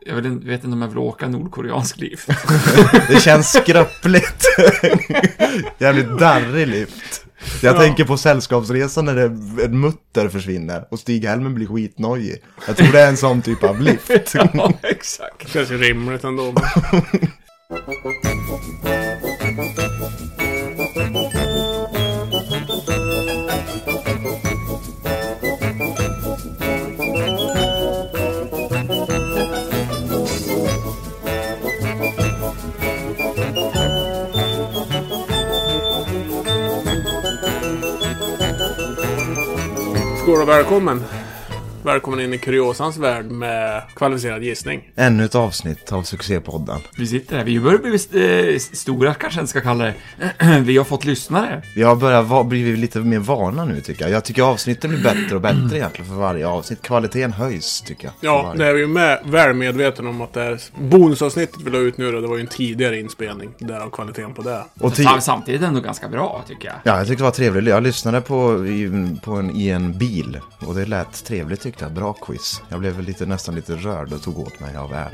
Jag vet, inte- vet inte om jag vill åka nordkoreansk liv. Det känns skröpligt. Jävligt darrig lift. Jag Ja. tänker på Sällskapsresan när det, en mutter försvinner och Stig-Helmer blir skitnojig. Jag tror det är en sån typ av lift. ja, exakt. Känns ju rimligt ändå. men- Skål och välkommen! Välkommen in i kuriosans värld med kvalificerad gissning. Ännu ett avsnitt av succépodden. Vi sitter här. Vi börjar bli eh, stora kanske jag ska kalla det. Vi har fått lyssnare. Jag börjar va- blivit lite mer vana nu tycker jag. Jag tycker avsnitten blir bättre och bättre egentligen för varje avsnitt. Kvaliteten höjs tycker jag. för Ja, varje- det är vi ju med, väl medveten om att det här bonusavsnittet vi la ut nu då, det var ju en tidigare inspelning. Därav kvaliteten på det. och ti- Sam- Samtidigt ändå ganska bra tycker jag. Ja, jag tyckte det var trevligt. Jag lyssnade på, i, på en, i en bil och det lät trevligt tyckte jag. Bra quiz. Jag blev väl lite, nästan lite rörd och tog åt mig av ära.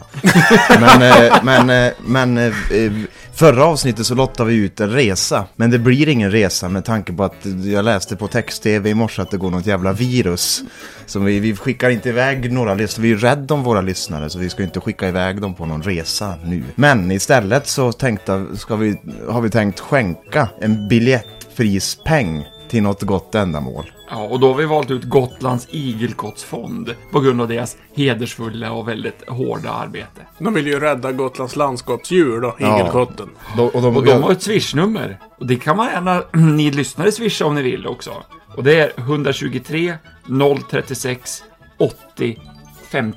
men eh, men, eh, men eh, förra avsnittet så lottade vi ut en resa. Men det blir ingen resa med tanke på att jag läste på text-tv i morse att det går något jävla virus. Så vi, vi skickar inte iväg några lyssnare. Vi är rädda om våra lyssnare så vi ska inte skicka iväg dem på någon resa nu. Men istället så tänkte, ska vi, har vi tänkt skänka en biljettprispeng till något gott ändamål. Ja, och då har vi valt ut Gotlands igelkottsfond på grund av deras hedersfulla och väldigt hårda arbete. De vill ju rädda Gotlands landskapsdjur då, Ja. igelkotten. Då- och de, Och de har ett swishnummer. Och det kan man gärna, ni lyssnare, swisha om ni vill också. Och det är 123 036 80 50.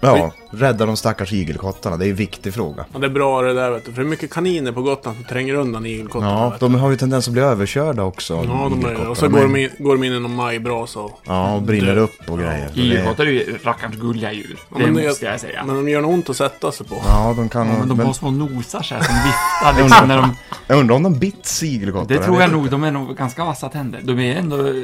ja, rädda de stackars igelkottarna, det är en viktig fråga. Ja. Det är bra det där vet du, för det är mycket kaniner på Gotland som tränger undan igelkotten. Ja, de, de har ju tendens att bli överkörda också. ja, de är, igelkottarna. och så går de, in, går de in i någon majbrasa. och- Ja, och brinner upp och grejer. Så det- Igelkottar är ju rackarns gulliga djur. Det men det- måste jag säga. Men de gör nog ont att sätta sig på. Ja, de kan... Men men de har små nosar så här som viftar liksom när de... Jag undrar om de bits igelkottar. Det tror vet jag inte. nog, de är nog ganska vassa tänder. De är ändå eh,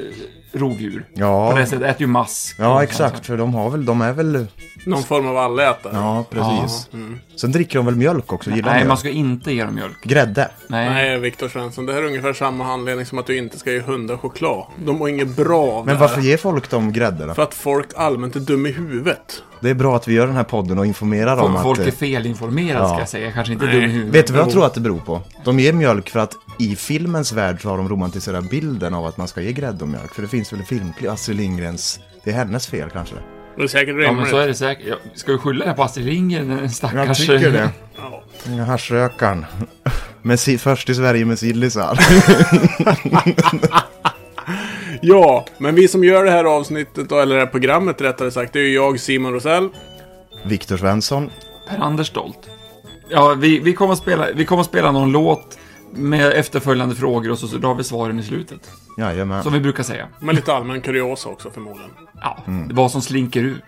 rovdjur. Ja. På det sättet äter ju mask. och Ja, sånt exakt. För de har väl, de är väl... Någon form av allätare. Ja, precis. mm. Sen dricker de väl mjölk också? Gillar Nej, de man mjölk? ska inte ge dem mjölk. Grädde? Nej. Nej, Viktor Svensson, det här är ungefär samma handledning som att du inte ska ge hundar choklad. De mår inget bra av Men det varför här. ger folk dem grädde då? För att folk allmänt är dum i huvudet. Det är bra att vi gör den här podden och informerar om Folk, att... folk är eh, felinformerade Ja. ska jag säga, kanske inte Nej. dum i huvudet. Vet du vad jag tror att det beror på? De ger mjölk för att i filmens värld så har de romantiserat bilden av att man ska ge grädde och mjölk. För det finns väl en filmklipp, Astrid Lindgrens... Det är hennes fel kanske. Det är säkert Ja, men rimligt. så är det säkert. Ja, Ska vi skylla det här på Astrid Lindgren, den Jag stackars... eh, tycker det. Ja. Ja, Haschrökaren. Med si- först i Sverige med sillisar. Ja, men vi som gör det här avsnittet, då, eller det här programmet rättare sagt, det är ju jag, Simon Rosell. Viktor Svensson. Per-Anders Stolt. Ja, vi, vi, kommer att spela, vi kommer att spela någon låt med efterföljande frågor och så, så drar vi svaren i slutet. Jajamän. Som vi brukar säga. Med lite allmän kuriosa också förmodligen. Ja, vad som slinker ur.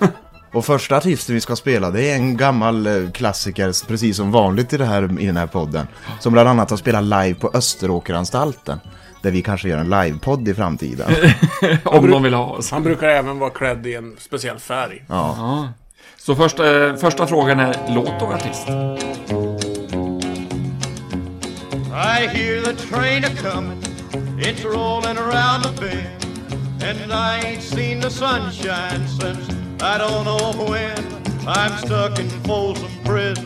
Och första artisten vi ska spela det är en gammal eh, klassiker, precis som vanligt i, det här, i den här podden. Som bland annat har spelat live på Österåkeranstalten. Där vi kanske gör en livepodd i framtiden. Om de vill ha oss. Han brukar även vara klädd i en speciell färg. Ja. Så första, eh, första frågan är låt och artist. I hear the train a comin', it's rollin' around the bend, and I ain't seen the sunshine since I don't know when. I'm stuck in Folsom Prison.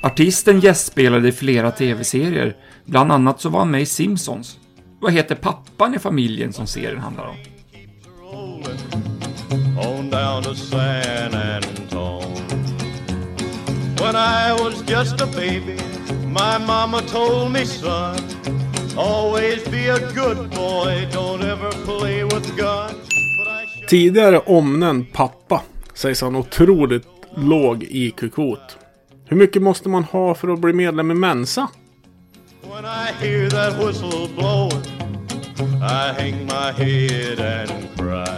Artisten gästspelade i flera tv-serier. Bland annat så var han med i Simpsons. Vad heter pappan i familjen som serien handlar om? rollin' on down to San Antone. When I was just a baby, my mama told me, son, always be a good boy, don't ever play with guns. But I sure Tidigare omnämnd pappa sägs ha en otroligt låg IQ-kvot. Hur mycket måste man ha för att bli medlem i Mensa? When I hear that whistle blowing, I hang my head and cry.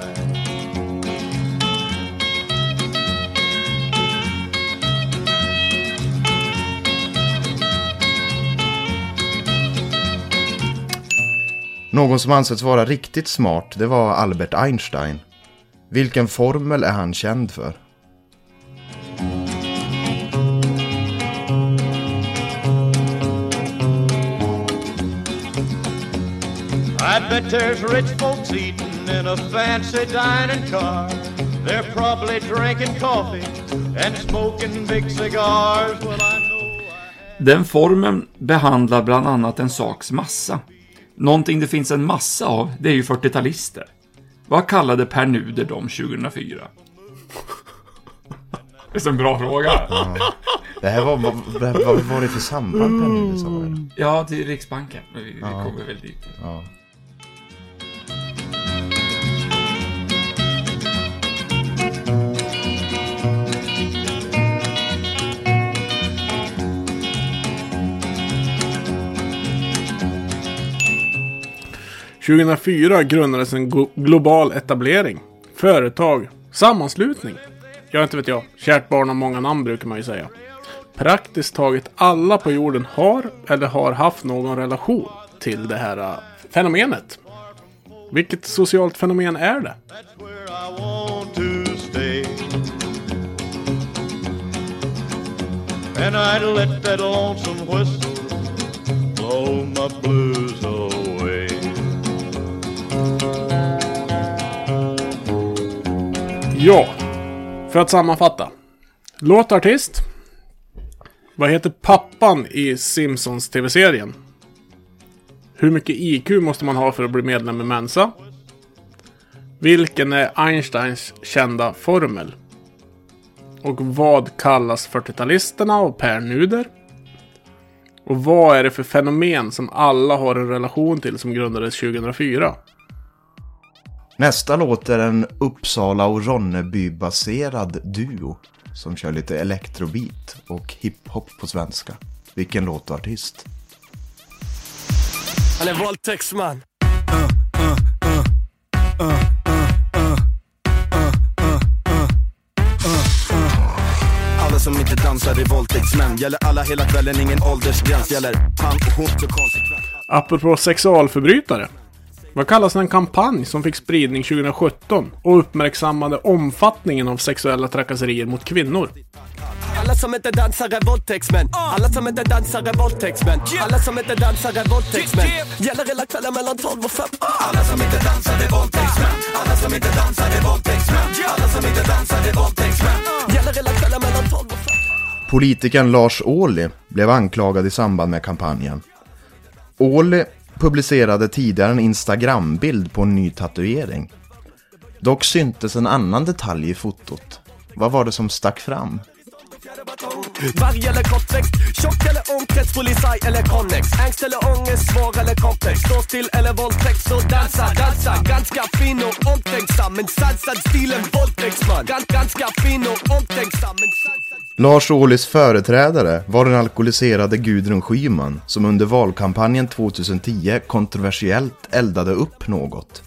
Någon som ansetts vara riktigt smart, det var Albert Einstein. Vilken formel är han känd för? bet there's rich folks eating in a fancy dining car. They're probably drinking coffee and smoking big cigars. Well, I know. Den formen behandlar bland annat en saks massa. Någonting det finns en massa av, det är ju 40-talister. Vad kallade Per Nuder dem 2004? Det är så en bra fråga. Det här var, vad, vad- vad var det för samband Pär Nuder sa? du? Ja, till Riksbanken. Men Vi, vi kommer väl dit. Ja. det. 2004 grundades en glo- global etablering. Företag. Sammanslutning. Jag inte vet jag. Kärt barn har många namn brukar man ju säga. Praktiskt taget alla på jorden har eller har haft någon relation till det här eh, fenomenet. Vilket socialt fenomen är det? That's where I want to stay. And I'd let that lonesome whistle blow my blues away. Ja, för att sammanfatta. Låtartist. Vad heter pappan i Simpsons TV-serien? Hur mycket IQ måste man ha för att bli medlem i Mensa? Vilken är Einsteins kända formel? Och vad kallas 40-talisterna av Per Nuder? Och vad är det för fenomen som alla har en relation till som grundades 2004? Nästa låt är en Uppsala och Ronneby-baserad duo som kör lite electrobeat och hiphop på svenska. Vilken låt och artist? Han är våldtäktsman. Alla som inte dansar är våldtäktsmän Gäller alla hela kvällen, ingen åldersgräns Gäller han och hon så konsekvent Apropå sexualförbrytare. Vad kallas den kampanj som fick spridning 2017 och uppmärksammade omfattningen av sexuella trakasserier mot kvinnor? Alla som inte dansar är våldtäktsmän. Ah. Alla som inte dansar är våldtäktsmän. Alla som inte dansar är våldtäktsmän. Gäller hela kvällen mellan 12 och Ah. 5. Alla som inte dansar är våldtäktsmän. Alla som inte dansar är våldtäktsmän. Alla som inte dansar är våldtäktsmän. Gäller hela kvällen mellan 12 och 5. Politikern Lars Ohly blev anklagad i samband med kampanjen. Ohly publicerade tidigare en Instagram-bild på en ny tatuering. Dock syntes en annan detalj i fotot. Vad var det som stack fram? Varg eller kortväxt, tjock eller omkrets, polisaj eller konnex Ängst eller ångest, svår eller komplex Stå still eller våldtäkt, så dansa, dansa Ganska fin och omtänksam, men sansad stilen våldtäktsman Gan- Ganska fin och omtänksam, men sansad Lars Ohlys företrädare var den alkoholiserade Gudrun Schyman som under valkampanjen 2010 kontroversiellt eldade upp något.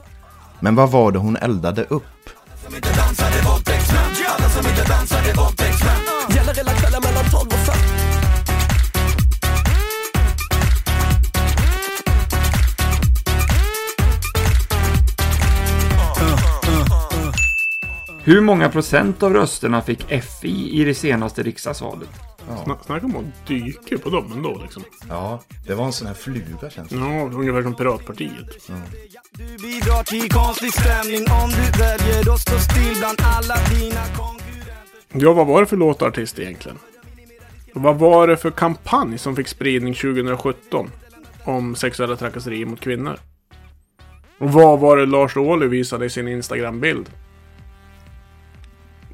Men vad var det hon eldade upp? Gäller hela kvällen mellan 12 och 5 Hur många procent av rösterna fick FI i det senaste riksdagsvalet? Sna- Snacka om att dyka på dem ändå liksom. Ja, det var en sån här fluga känns det Ja, ungefär som Piratpartiet. Du bidrar till konstig stämning Om du väljer att stå still bland alla dina konkurrenter Ja, vad var det för låtartist egentligen? Och vad var det för kampanj som fick spridning 2017 om sexuella trakasserier mot kvinnor? Och vad var det Lars Ohly visade i sin Instagram-bild?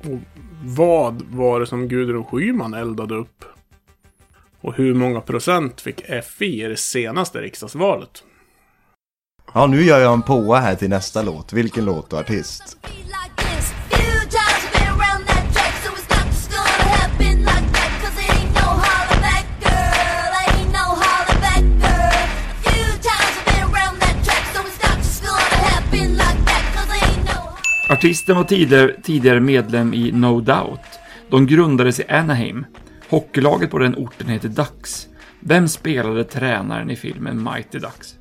Och vad var det som Gudrun Schyman eldade upp? Och hur många procent fick FI i det senaste riksdagsvalet? Ja, nu gör jag en påa här till nästa låt. Vilken låt och artist? be like this. Few jobs have been around that track, so it's not just gonna happen like that. Cause it ain't no holler back, girl. Ain't no holler back, girl. Few times have been around that track, so it's not just gonna happen like that. Cause it ain't no holler Artisten var tidigare, tidigare medlem i No Doubt. De grundades i Anaheim. Hockeylaget på den orten heter Ducks. Vem spelade tränaren i filmen Mighty Ducks?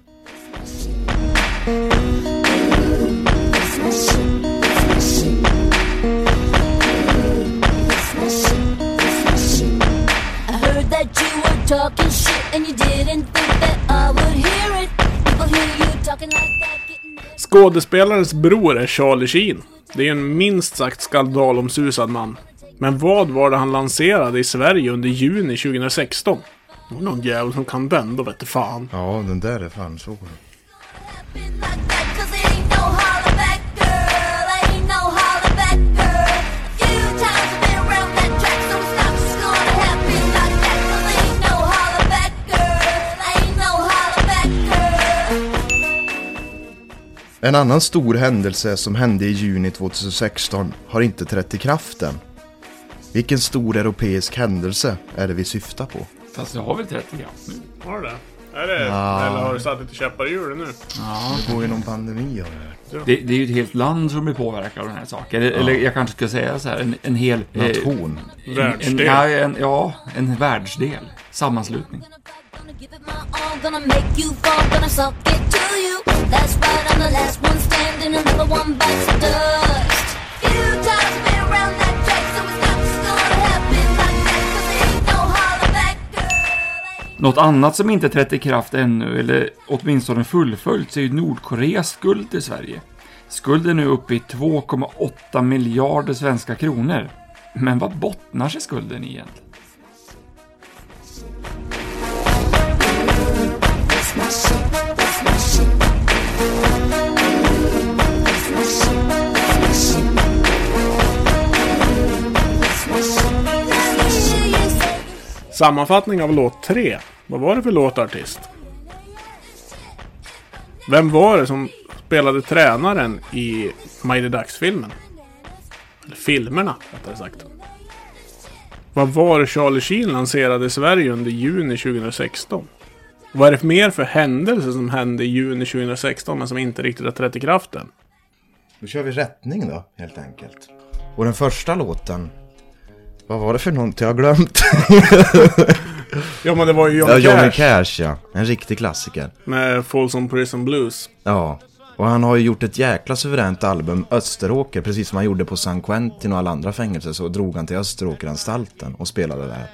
I heard that you were talking shit and you didn't think that I would hear it. People hear you talking like that. Skådespelarens bror är Charlie Sheen. Det är ju en minst sagt skandalomsusad man. Men vad var det han lanserade i Sverige under juni 2016? Det var någon jävel som kan den, då vete fan. Ja, den där är fan svår. Been like that, 'cause it ain't no holler back, girl. Ain't no holler back, girl. Few times I've been around that track, so it's not just gonna happen like that, 'cause ain't no holler back, girl. Ain't no holler back, girl. En annan stor händelse som hände i juni 2016 har inte trätt i kraft än. Vilken stor europeisk händelse är det vi syftar på? Fast jag har väl 30 gram nu? Har du det? Är det Eller har du satt lite käppar i hjulet nu? Det går ju någon pandemi av det här. Det, det är ju ett helt land som blir påverkat av den här saken. Eller, eller jag kanske ska säga så här, en, en hel... eh, Nation. En, en, Världsdel. ja, en, ja, en världsdel. Sammanslutning. Gonna fight, gonna give it my all, gonna make you fall, gonna suck it to you. That's right, I'm the last one standing, and number one bites the dust. Few times I've been around that track, so it's not just gonna happen like that, 'cause it ain't no holler back, girl. Ain't Något annat som inte trätt i kraft ännu, eller åtminstone fullföljts, är ju Nordkoreas skuld till Sverige. Skulden är nu uppe i 2,8 miljarder svenska kronor. Men vad bottnar sig skulden i egentligen? Sammanfattning av låt 3. Vad var det för låtartist? Vem var det som spelade tränaren i Mighty Ducks-filmen? Eller filmerna, rättare sagt. Vad var det Charlie Sheen lanserade i Sverige under juni 2016? Vad är det mer för händelser som hände i juni 2016 men som inte riktigt har trätt i kraft än? Då kör vi rättning då, helt enkelt. Och den första låten. Vad var det för någonting? Jag har glömt. Ja men det var ju Ja, Johnny, Johnny Cash, Cash ja. En riktig klassiker. med Falls on Prison Blues. Ja. Och han har ju gjort ett jäkla suveränt album, Österåker, precis som han gjorde på San Quentin och alla andra fängelser så drog han till Österåkeranstalten och spelade där.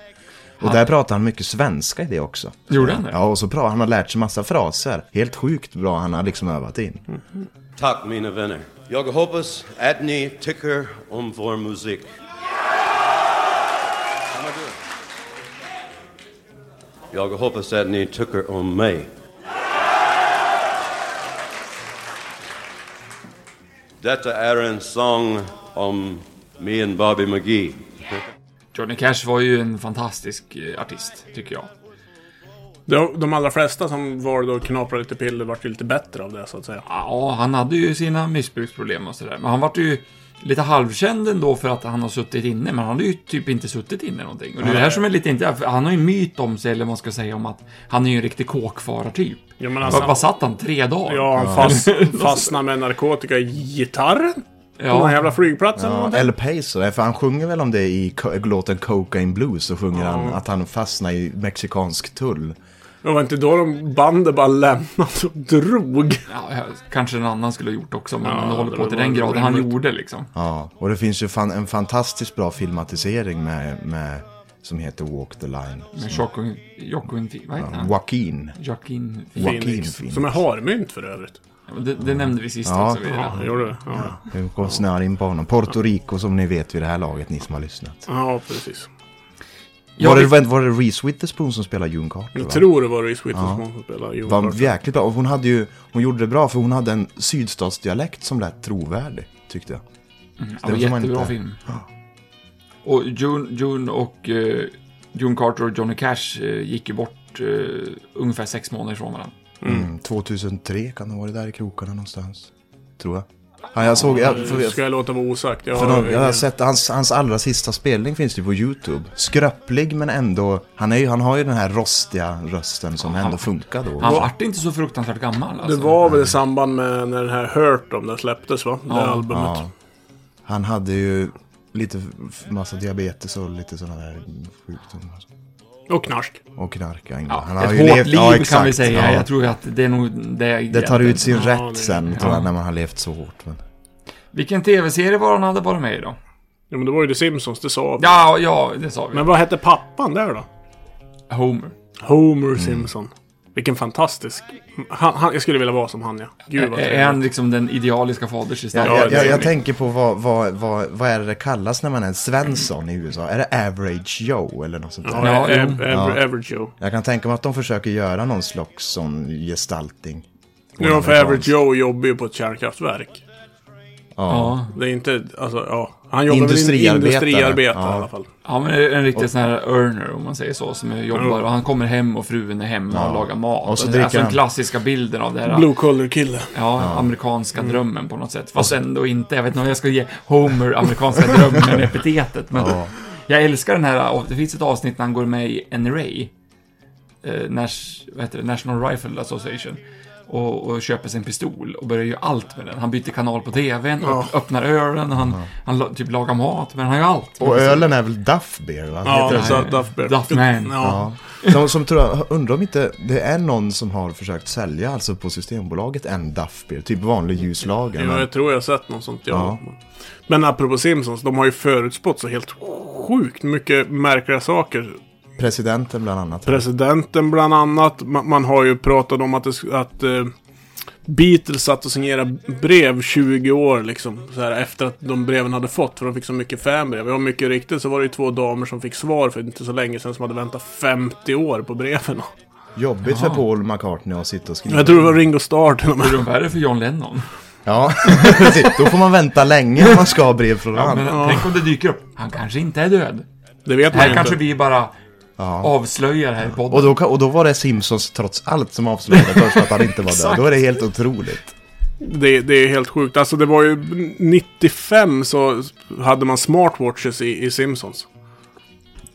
Och där pratade han mycket svenska i det också. Gjorde han det? Ja, och så pra- han har lärt sig massa fraser. Helt sjukt bra han har liksom övat in. Tack mina vänner. Jag hoppas att ni tycker om vår musik. Jag hoppas att ni tycker om mig. Detta är en sång om mig och Bobby McGee. Johnny Cash var ju en fantastisk eh, artist, tycker jag. De, de allra flesta som valde att knapra lite piller vart ju lite bättre av det så att säga. Ja, han hade ju sina missbruksproblem och sådär. Men han vart ju lite halvkänd ändå för att han har suttit inne. Men han hade ju typ inte suttit inne någonting. Och det är det här som är lite inte... för Han har ju en myt om sig, eller vad man ska säga, om att han är ju en riktig kåkfara-typ. Ja, men alltså- Vad- Vad satt han? Tre dagar? Ja, han fast, fastnar med narkotika i gitarren. På den här ja. jävla flygplatsen. eller Ja, någonting. El Peso, för han sjunger väl om det i co- låten Cocaine Blues så sjunger han att han fastnar i mexikansk tull. Det var inte då de bandet bara lämnat och drog. Ja, kanske en annan skulle ha gjort också, men Ja, han håller det på var till den graden han rimligt. gjorde liksom. Ja, och det finns ju fan en fantastiskt bra filmatisering med, med som heter Walk the Line. Med Jockin... Jockin... Vad heter han? Joaquin. Joaquin... Joaquin Phoenix. Phoenix. liksom. Som är harmynt för övrigt. Det, det nämnde vi sist Ja. också. Vid det. Ja, där. det gjorde det. Ja, Jag kom snarare in på honom. Puerto Rico som ni vet vid det här laget, ni som har lyssnat. ja precis. Jag var, det, vet- vänt- var det Reese Witherspoon som spelade June Carter? Jag va? tror det var Reese Witherspoon som spelade Joe Var Clark. jäkligt bra. Och hon hade ju, hon gjorde det bra för hon hade en sydstatsdialekt som lät trovärdig, tyckte jag. Ja, det som var man jättebra inte- film. Och June, June och eh, June Carter och Johnny Cash eh, gick ju bort eh, ungefär sex månader ifrån varandra. Mm. 2003 kan det ha varit där i krokarna någonstans. Tror jag. Ja, jag såg, jag, för, Ska jag låta vara osagt? Jag för har- någon, jag har sett hans, hans allra sista spelning finns ju på YouTube. Skröplig men ändå, han, är ju, han har ju den här rostiga rösten som ändå funkar då. Han vart inte så fruktansvärt gammal Det alltså. var väl i samband med när den här Hurt om den släpptes va? Det albumet. Han hade ju lite f- massa diabetes och lite sådana där sjukdomar. Och knark. Och knarka innan. Ja, han ett hårt liv kan vi exakt. säga. Ja. Jag tror att det är nog det. det tar ut sin Ja, rätt det- sen tror jag när man har levt så hårt. Men. Vilken tv-serie var han hade varit med i då? Ja, men det var ju The Simpsons, det sa vi. Ja, ja, det sa vi. Men vad hette pappan där då? Homer. Mm. Homer Simpson. Vilken fantastisk... Han, han, jag skulle vilja vara som han, ja. Gud vad Är- trevlig. Är han liksom den idealiska faders Jag, istället? Ja, jag, det är jag, jag det. tänker på vad, vad, vad, vad är det det kallas när man är en Svensson i USA? Är det average Joe eller något sånt där? Ja, Ja, ja, jo. ja. Ja. Average Joe. Jag kan tänka mig att de försöker göra någon slags sån gestaltning. Ja, för Average Joe jobbar ju på ett kärnkraftverk. Ja. Ja. Det är inte, alltså, ja. Han jobbar Industriarbetare. väl in- industriarbetare i Ja. alla fall. Ja, men en riktig sån här earner om man säger så, som jobbar och han kommer hem och frun är hemma och lagar mat. Och så dricker alltså den han. klassiska bilden av det här. Blue collar kille. Ja, amerikanska drömmen på något sätt. Fast ändå inte. Jag vet inte om jag ska ge Homer amerikanska drömmen epitetet. Men jag älskar den här, och det finns ett avsnitt när han går med i NRA. Eh, Nash, vad heter det? National Rifle Association. Och, och köper sin pistol och börjar ju allt med den. Han byter kanal på TVn, Ja. öpp- öppnar ölen, och han, han la- typ lagar mat, men han gör allt. Och ölen är väl Duff Beer? Va? Ja, Heter det? så att Duff Bear. Duffman. Ja. Ja. Som, som tror, undrar om inte det är någon som har försökt sälja alltså på Systembolaget en Duff Beer, typ vanlig ljuslager. Jo, men- jag tror jag har sett något sånt, ja. Ja. Men apropå Simpsons, de har ju förutspått så helt sjukt mycket märkliga saker. Presidenten bland annat. Presidenten bland annat. Man, man har ju pratat om att, det, sk- att eh, Beatles satt och signerade brev 20 år liksom. Så här, efter att de breven hade fått, för de fick så mycket fanbrev. Ja, mycket riktigt så var det ju två damer som fick svar för inte så länge sedan som hade väntat 50 år på breven. Jobbigt för Paul McCartney att sitta och skriva. Jag tror det var Ringo Starr till och med. Hur de värre för John Lennon. Ja, precis. Då får man vänta länge om man ska ha brev från Men honom. tänk om det dyker upp. Han kanske inte är död. Det vet man Här ju kanske inte. vi bara avslöjar här i podden. Och då, kan- och då var det Simpsons trots allt som avslöjade först att han inte var död. Då är det helt otroligt. Det, det är helt sjukt. Alltså det var ju 95 så hade man smartwatches i, i Simpsons.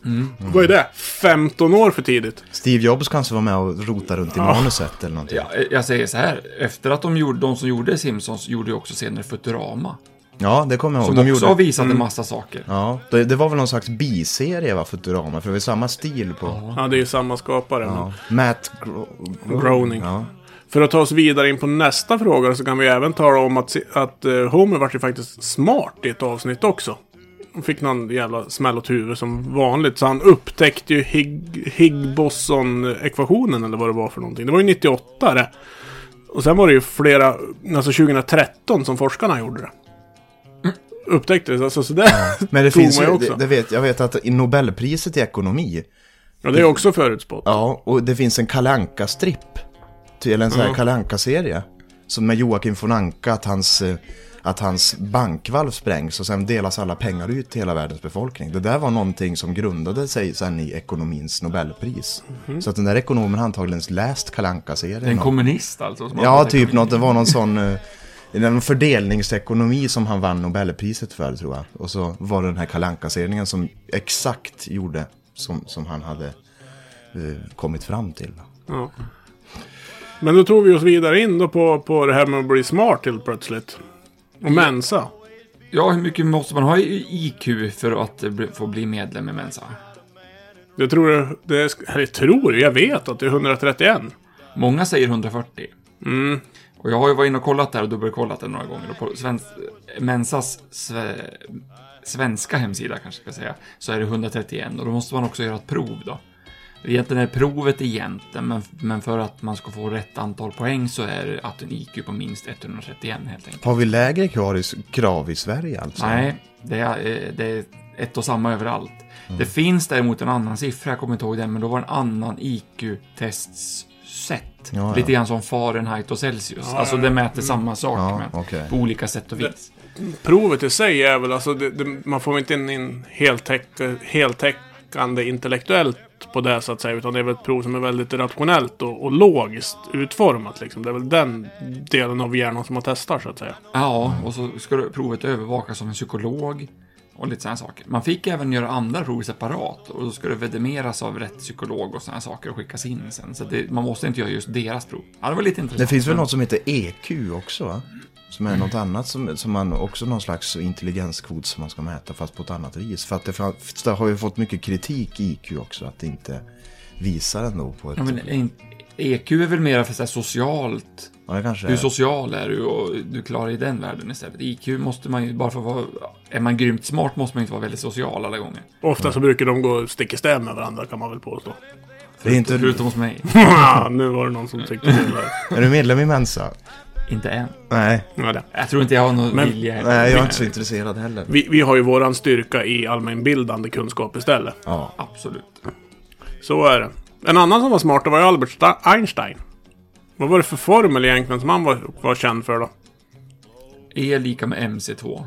Mm. Vad är det? 15 år för tidigt? Steve Jobs kanske var med och rotade runt i manuset eller någonting. Ja, jag säger så här. Efter att de, gjorde, de som gjorde Simpsons gjorde ju också senare Futurama. Ja, det kommer jag Som ihåg. också De har gjorde... Mm. visat en massa saker. Ja, det, det var väl någon slags biserie va, Futurama? För det var samma stil på... Ja, det är ju samma skapare. men- Ja. Matt Gro- Groening. Ja. För att ta oss vidare in på nästa fråga så kan vi även tala om att, se- att eh, Homer vart ju faktiskt smart i ett avsnitt också. Han fick någon jävla smäll åt huvudet som vanligt. Så han upptäckte ju Hig- Higg-Bosson-ekvationen eller vad det var för någonting. Det var ju 98 det. Och sen var det ju flera, alltså 2013 som forskarna gjorde det. Upptäckte det, alltså så det Men det tog finns man ju, ju också. det, det vet, jag vet att i Nobelpriset i ekonomi, ja, det är också förutspått. ja, och det finns en kalanka stripp eller en sån här kalanka serie som med Joakim von Anka, att hans, eh, att hans bankvalv sprängs och sen delas alla pengar ut till hela världens befolkning. Det där var någonting som grundade sig sen i ekonomins Nobelpris. Så att den där ekonomen har antagligen läst kalanka serien En kommunist alltså. som Ja, hade- typ något. Det var någon sån... eh, En fördelningsekonomi som han vann Nobelpriset för, tror jag. Och så var det den här kalanka serien som exakt gjorde som, som han hade eh, kommit fram till. Ja. Men då tog vi oss vidare in då på, på det här med att bli smart helt plötsligt. Och mensa. Ja, hur mycket måste man ha i IQ för att eh, bli- få bli medlem i Mensa? Jag tror det, det är- eller jag tror, jag vet att det är 131. Många säger 140. Och jag har ju varit inne och kollat där och dubbelkollat det några gånger. Och på svensk, Mensas sve, svenska hemsida kanske jag ska säga, så är det 131 och då måste man också göra ett prov då. Egentligen är provet egentligen, men, men för att man ska få rätt antal poäng så är det att en IQ på minst 131 helt enkelt. Har vi lägre krav i, krav i Sverige alltså? Nej, det är, eh, det är ett och samma överallt. Mm. Det finns däremot en annan siffra, jag kommer inte ihåg den, men då var det en annan IQ-testsätt. ja. Mm. Lite grann som Fahrenheit och Celsius. alltså det mäter samma sak, Ja, men okej. på olika sätt och vis. Provet i sig är väl alltså, det, det, man får inte in en heltäck, heltäckande intellektuellt på det så att säga. Utan det är väl ett prov som är väldigt rationellt och, och logiskt utformat liksom. Det är väl den delen av hjärnan som man testar så att säga. Ja, och så ska du- provet övervakas av en psykolog och lite sådana saker. Man fick även göra andra prov separat och då ska det vidimeras av rätt psykolog och sådana saker och skickas in sen. Så det, man måste inte göra just deras prov. Ja, det var lite Det intressant. finns väl något som heter EQ också? Va? Som är något annat som, som man också någon slags intelligenskvot som man ska mäta fast på ett annat vis. För att det, fra- det har ju fått mycket kritik i IQ också att det inte visar ändå på ett... Ja, men eh, en- EQ är väl mer för så här socialt Ja, det kanske Hur är. social är du och du klarar i den världen istället. IQ måste man ju bara för att vara... Är man grymt smart måste man ju inte vara väldigt social alla gånger. Ofta så brukar de gå stick i stäv med varandra kan man väl påstå. Det är inte... Förutom hos mig. Ah, nu var det någon som tyckte det var... Är du medlem i Mensa? Inte än. Nej. Ja, det. Jag tror inte jag har någon Men- vilja heller. Nej, jag är inte så intresserad heller. Vi, vi har ju våran styrka i allmänbildande kunskap istället. Ja. Absolut. Så är det. En annan som var smart det var ju Albert Sta- Einstein. Vad var det för formel egentligen som han var, var känd för då? E lika med MC2.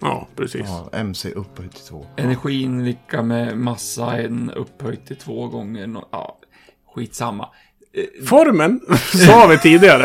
Ja, precis. ja MC upphöjt till två. Energin lika med massa en upphöjt till två gånger. nå- Ja, skitsamma. Formen sa vi tidigare.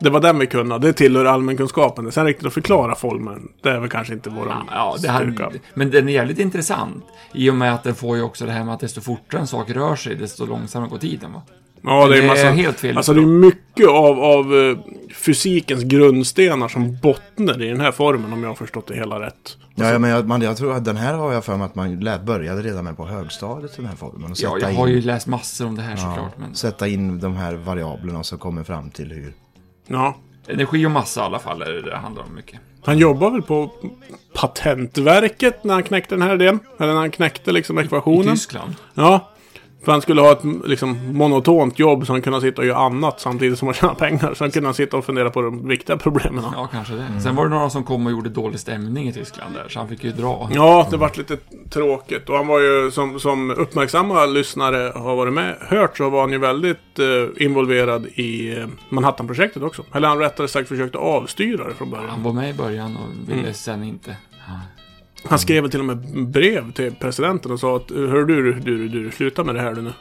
Det var den vi kunde. Det tillhör allmänkunskapen. Sen riktigt att förklara formen, det är väl kanske inte våran Ja, det styrka. här, men den är jävligt intressant. I och med att den får ju också det här med att desto fortare en sak rör sig, desto långsammare går tiden. Va? Ja, det är, Det är massa, helt fel. Alltså det är mycket av, av eh, fysikens grundstenar som bottnar i den här formen om jag har förstått det hela rätt. Ja, ja, men jag, man, jag tror att den här har jag för mig att man lät, började redan med på högstadiet, den här formen. Och Ja, sätta jag har in- ju läst massor om det här såklart. Men Sätta in de här variablerna som kommer fram till hur... Ja. energi och massa i alla fall är det det handlar om mycket. Han jobbar väl på Patentverket när han knäckte den här idén. Eller när han knäckte liksom I ekvationen. Tyskland. Ja. För han skulle ha ett liksom, monotont jobb så han kunde sitta och göra annat samtidigt som han tjänade pengar. Så han kunde sitta och fundera på de viktiga problemen. Ja, Ja, kanske det. Sen var det några som kom och gjorde dålig stämning i Tyskland där, så han fick ju dra. det vart lite tråkigt. Och han var ju, som, som uppmärksamma lyssnare har varit med, hört så var han ju väldigt eh, involverad i eh, Manhattanprojektet också. Eller han rättare sagt försökte avstyra det från början. Han var med i början och ville sen inte. Han skrev till och med brev till presidenten och sa att Hör du, du, du, du, sluta med det här du nu.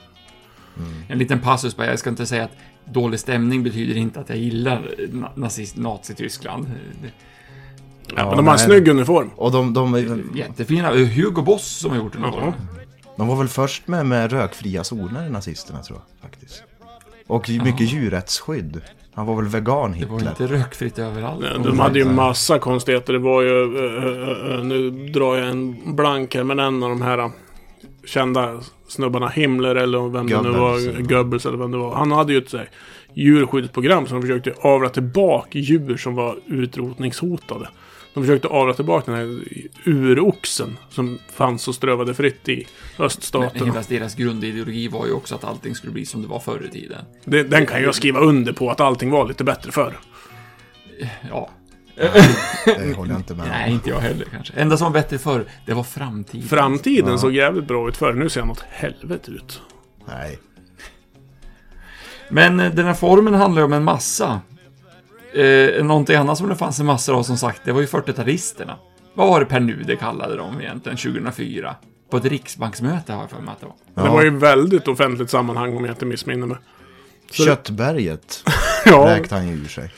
En liten passus bara, jag ska inte säga att dålig stämning betyder inte att jag gillar na- nazist, Nazityskland. Det- Ja, men de har en nej. snygg uniform. Och de, de, de, Jättefina. eh, Hugo Boss som har gjort den åt dem. var väl först med, med rökfria zoner, nazisterna, tror jag. Faktiskt. Och mycket djurrättsskydd. Han var väl vegan, Det var Hitler. inte rökfritt överallt. De hade ju massa konstigheter. Det var ju... eh, eh, eh, Nu drar jag en blank här, men en av de här eh, kända snubbarna, Himmler eller vem det nu Goebbels. var, Goebbels eller vem det var. Han hade ju ett så här, djurskyddsprogram som försökte avla tillbaka djur som var utrotningshotade. De försökte avla tillbaka den här uroxen som fanns och strövade fritt i Men öststaterna. hela deras grundideologi var ju också att allting skulle bli som det var förr i tiden. Det, den kan jag skriva under på att allting var lite bättre förr. Ja. Det håller jag inte med om. Nej, inte jag heller kanske. Enda som var bättre förr, det var framtiden. Framtiden såg jävligt bra ut förr. Nu ser han åt helvete ut. Nej. Men eh, den här formen handlar ju om en massa. Eh, någonting annat som det fanns en massa av som sagt, det var ju 40-talisterna. Vad var det Per Nuder kallade dem egentligen 2004? På ett riksbanksmöte har jag för mig att det var. Det var ju väldigt offentligt sammanhang om jag inte missminner mig. Köttberget Ja, räknade han ju ur sig.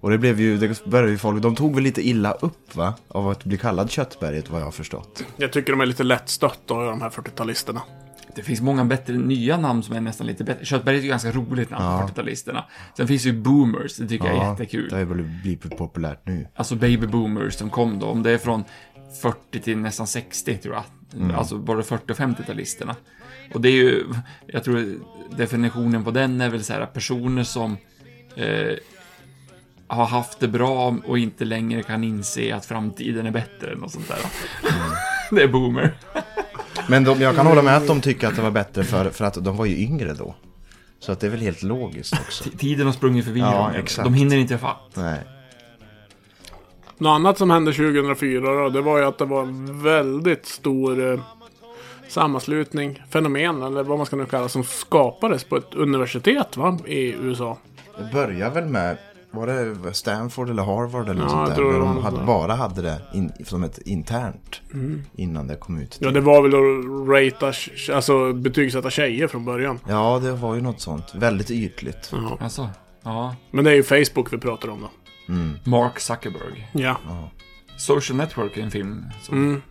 Och det blev ju, det började ju folk, de tog väl lite illa upp va? Av att bli kallad Köttberget vad jag har förstått. jag tycker de är lite lättstötta de här 40-talisterna. Det finns många bättre nya namn som är nästan lite bättre. Köttberg är ju ganska roligt namn för 40-talisterna. Sen finns ju Boomers, det tycker jag är jättekul. Det har ju väl blivit populärt nu. Alltså Baby Boomers som kom då, om det är från 40 till nästan 60 tror jag. Mm. Alltså både 40 och 50-talisterna. Och det är ju, jag tror definitionen på den är väl så här personer som eh, har haft det bra och inte längre kan inse att framtiden är bättre än något sånt där. Mm. det är boomer. Men de, jag kan hålla med att de tycker att det var bättre för, för att de var ju yngre då. Så att det är väl helt logiskt också. T- Tiden har sprungit förbi Ja, dem. exakt. De hinner inte ifatt. Nej. Något annat som hände 2004 då, det var ju att det var en väldigt stor eh, sammanslutning, fenomen eller vad man ska nu kalla som skapades på ett universitet va, i USA. Det börjar väl med, var det Stanford eller Harvard eller Ja, något jag sånt där? tror det Där var de hade, något bara hade det in, som ett internt innan det kom ut. Ja, det var väl att ratea, alltså betygsätta tjejer från början. Ja, det var ju något sånt. Väldigt ytligt. Alltså, ja. Men det är ju Facebook vi pratar om då. Mark Zuckerberg. Ja. Social Network är en film. Som, Mm.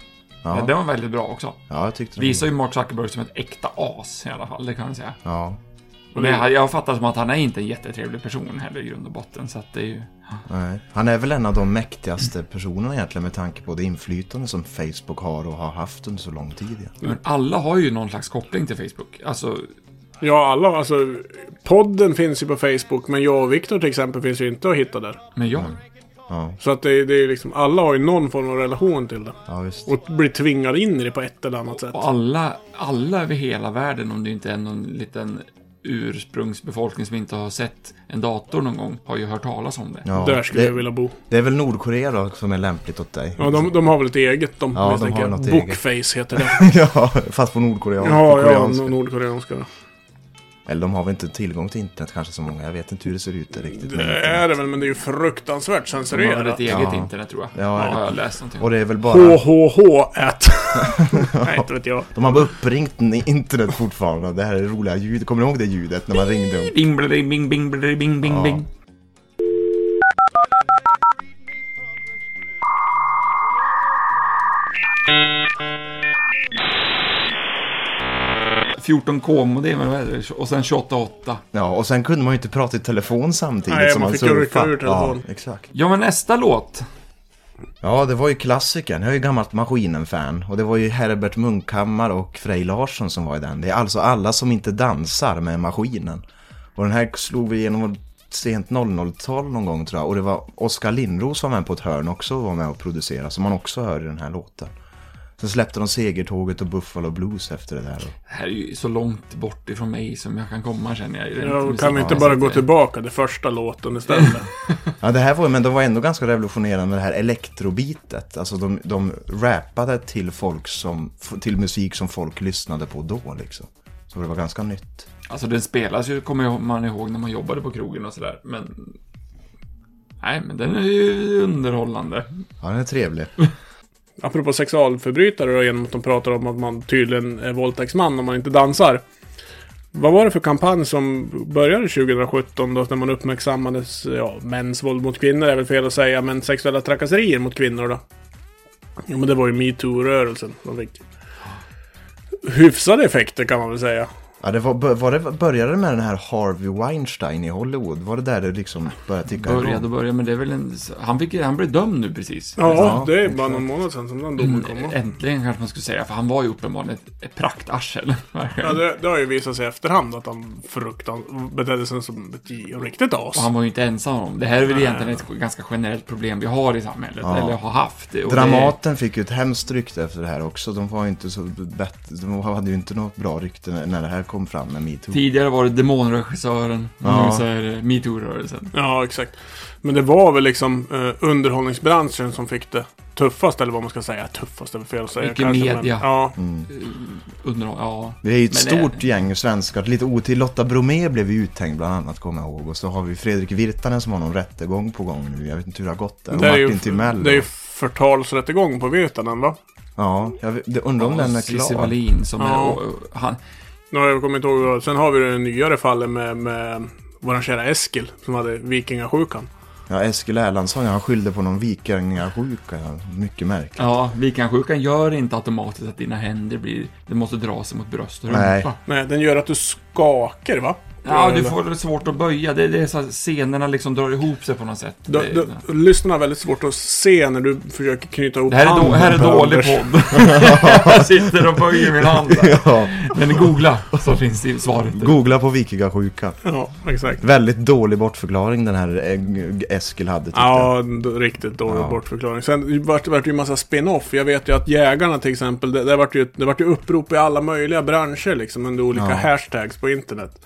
Ja. Den var väldigt bra också. Ja, jag tyckte det. Visar ju Mark Zuckerberg som ett äkta as i alla fall, det kan man säga. Ja, Och Mm. det, jag fattar som att han är inte en jättetrevlig person heller i grund och botten, så att det är ju... Mm. nej. Han är väl en av de mäktigaste personerna egentligen med tanke på det inflytande som Facebook har och har haft under så lång tid. egentligen. Men alla har ju någon slags koppling till Facebook. Alltså, ja, alla alltså. Mm. Podden finns ju på Facebook, men jag och Viktor till exempel finns ju inte att hitta där. men jag. Ja, Så att det, det är liksom, alla har ju någon form av relation till det. ja visst. Och blir tvingade in i det på ett eller annat sätt. Och alla, alla över hela världen, om det inte är någon liten ursprungsbefolkning som inte har sett en dator någon gång, har ju hört talas om det. Ja, Där skulle det, jag vilja bo. det är väl Nordkorea då som är lämpligt åt dig? Ja, de, de har väl ett eget de, Ja, de misstänker har jag. något eget. Bookface heter det. ja fast på Nordkorea. ja, på ja, koreanska. nordkoreanska. då. Eller de har väl inte tillgång till internet kanske så många. Jag vet inte hur det ser ut där riktigt. med Det internet. är det väl, men det är ju fruktansvärt De har väl censurerat. ett eget Ja. internet, tror jag. Ja, har jag läst någonting om. Och det är väl bara... HHH at. Nej, inte vet jag. De har bara uppringt ni- internet fortfarande. Det här är roliga ljud. Kommer ni ihåg det ljudet när man ringde? upp? Bing, bling, bing, bing, bling, bing, bing, Ja. bing. k modemen vad är det? Och sen 28.8. Ja, och sen kunde man ju inte prata i telefon samtidigt Nej, som man man, fick ju rycka surfade. ur telefon. Ja, exakt. Ja, men nästa låt. Ja, det var ju klassikern. Jag är ju gammalt Maskinen-fan. Och det var ju Herbert Munkhammar och Frej Larsson som var i den. Det är alltså alla som inte dansar med Maskinen. Och den här slog vi igenom sent 00-tal någon gång tror jag. Och det var Oskar Lindros var med på ett hörn också och var med och producerade. Som man också hör i den här låten. Sen släppte de Segertåget och Buffalo Blues efter det där. Det här är ju så långt bort ifrån mig som jag kan komma känner jag. i den Ja, kan vi musiken. inte bara gå tillbaka till första låten istället? Ja, det här var, men det var ändå ganska revolutionerande med det här elektrobitet. Alltså de, de rappade till, folk som, till musik som folk lyssnade på då liksom. Så det var ganska nytt. Alltså den spelas ju, kommer jag- man ihåg, när man jobbade på krogen och sådär. Men... Nej, men den är ju underhållande. Ja, den är trevlig. Apropå sexualförbrytare då, genom att de pratar om att man tydligen är våldtäktsman om man inte dansar. Vad var det för kampanj som började 2017 då, när man uppmärksammades, ja, mäns våld mot kvinnor är väl fel att säga, men sexuella trakasserier mot kvinnor då? Jo, men det var ju metoo-rörelsen de fick. Hyfsade effekter kan man väl säga. Ja, det var, var det, började det med den här Harvey Weinstein i Hollywood? Var det där det liksom började ticka Började och började, men det är väl en... Han, fick, han blev dömd nu precis. Mm. Ja, Ja, det är bara någon månad sedan som den domen Mm. kom. Äntligen kanske man skulle säga, för han var ju uppenbarligen ett, ett praktarsel. verkligen. Ja, det, det har ju visat sig i efterhand att han fruktan betedde sig som ett riktigt as. Och han var ju inte ensam om det. här är väl egentligen ett ganska generellt problem vi har i samhället, eller har haft. Och Dramaten fick ju ett hemskt rykte efter det här också. De var ju inte så bett, de hade ju inte något bra rykte när, när det här kom fram med Det, metoo. tidigare var det demonregissören, Ja. nu så är det metoo-rörelsen. Ja, exakt. Men det var väl liksom eh, underhållningsbranschen som fick det tuffast, eller vad man ska säga. Tuffast är väl fel att säga. Mycket kanske, media. Men, ja, Mm. Undrar, ja. Det är ju ett Men det- stort gäng svenskar. Lite otill. Lotta Bromé blev ju uthängd bland annat, kommer jag ihåg. Och så har vi Fredrik Virtanen som har någon rättegång på gång nu. Jag vet inte hur det har gått där. Och det, är Martin ju, Timell. det är ju förtalsrättegång på Virtanen, va? Ja, jag vet- det- undrar om den är Cissi klar. Wallin som är... Ja. Och, och, han, Nu har jag kommit ihåg. vad- Sen har vi det nyare fallet med, med vår kära Eskil, som hade vikingasjukan. Ja, Eskil Erlandsson, ja, han skyllde på någon vikingasjuka. ja. Mycket märkligt. ja, vikansjukan gör inte automatiskt att dina händer blir... Det måste dra sig mot bröst och Nej. rumpa. Nej, den gör att du skakar, va? Ja, du Eller- får det svårt att böja. Det, det är så att scenerna liksom drar ihop sig på något sätt. Du, det, du, lyssnarna har väldigt svårt att se när du försöker knyta ihop det här är, då, handen här är på dålig Anders. podd. jag sitter och böjer min hand. där. Ja, Men googla så finns det svaret. googla på vikingasjuka. Ja, exakt. Väldigt dålig bortförklaring den här eh, Eskil hade. tyckte jag. Ja, d- riktigt dålig Ja. bortförklaring. Sen vart vart det ju en massa spin-off. Jag vet ju att jägarna till exempel, det, det, vart ju, det vart ju upprop i alla möjliga branscher liksom under olika Ja. hashtags på internet.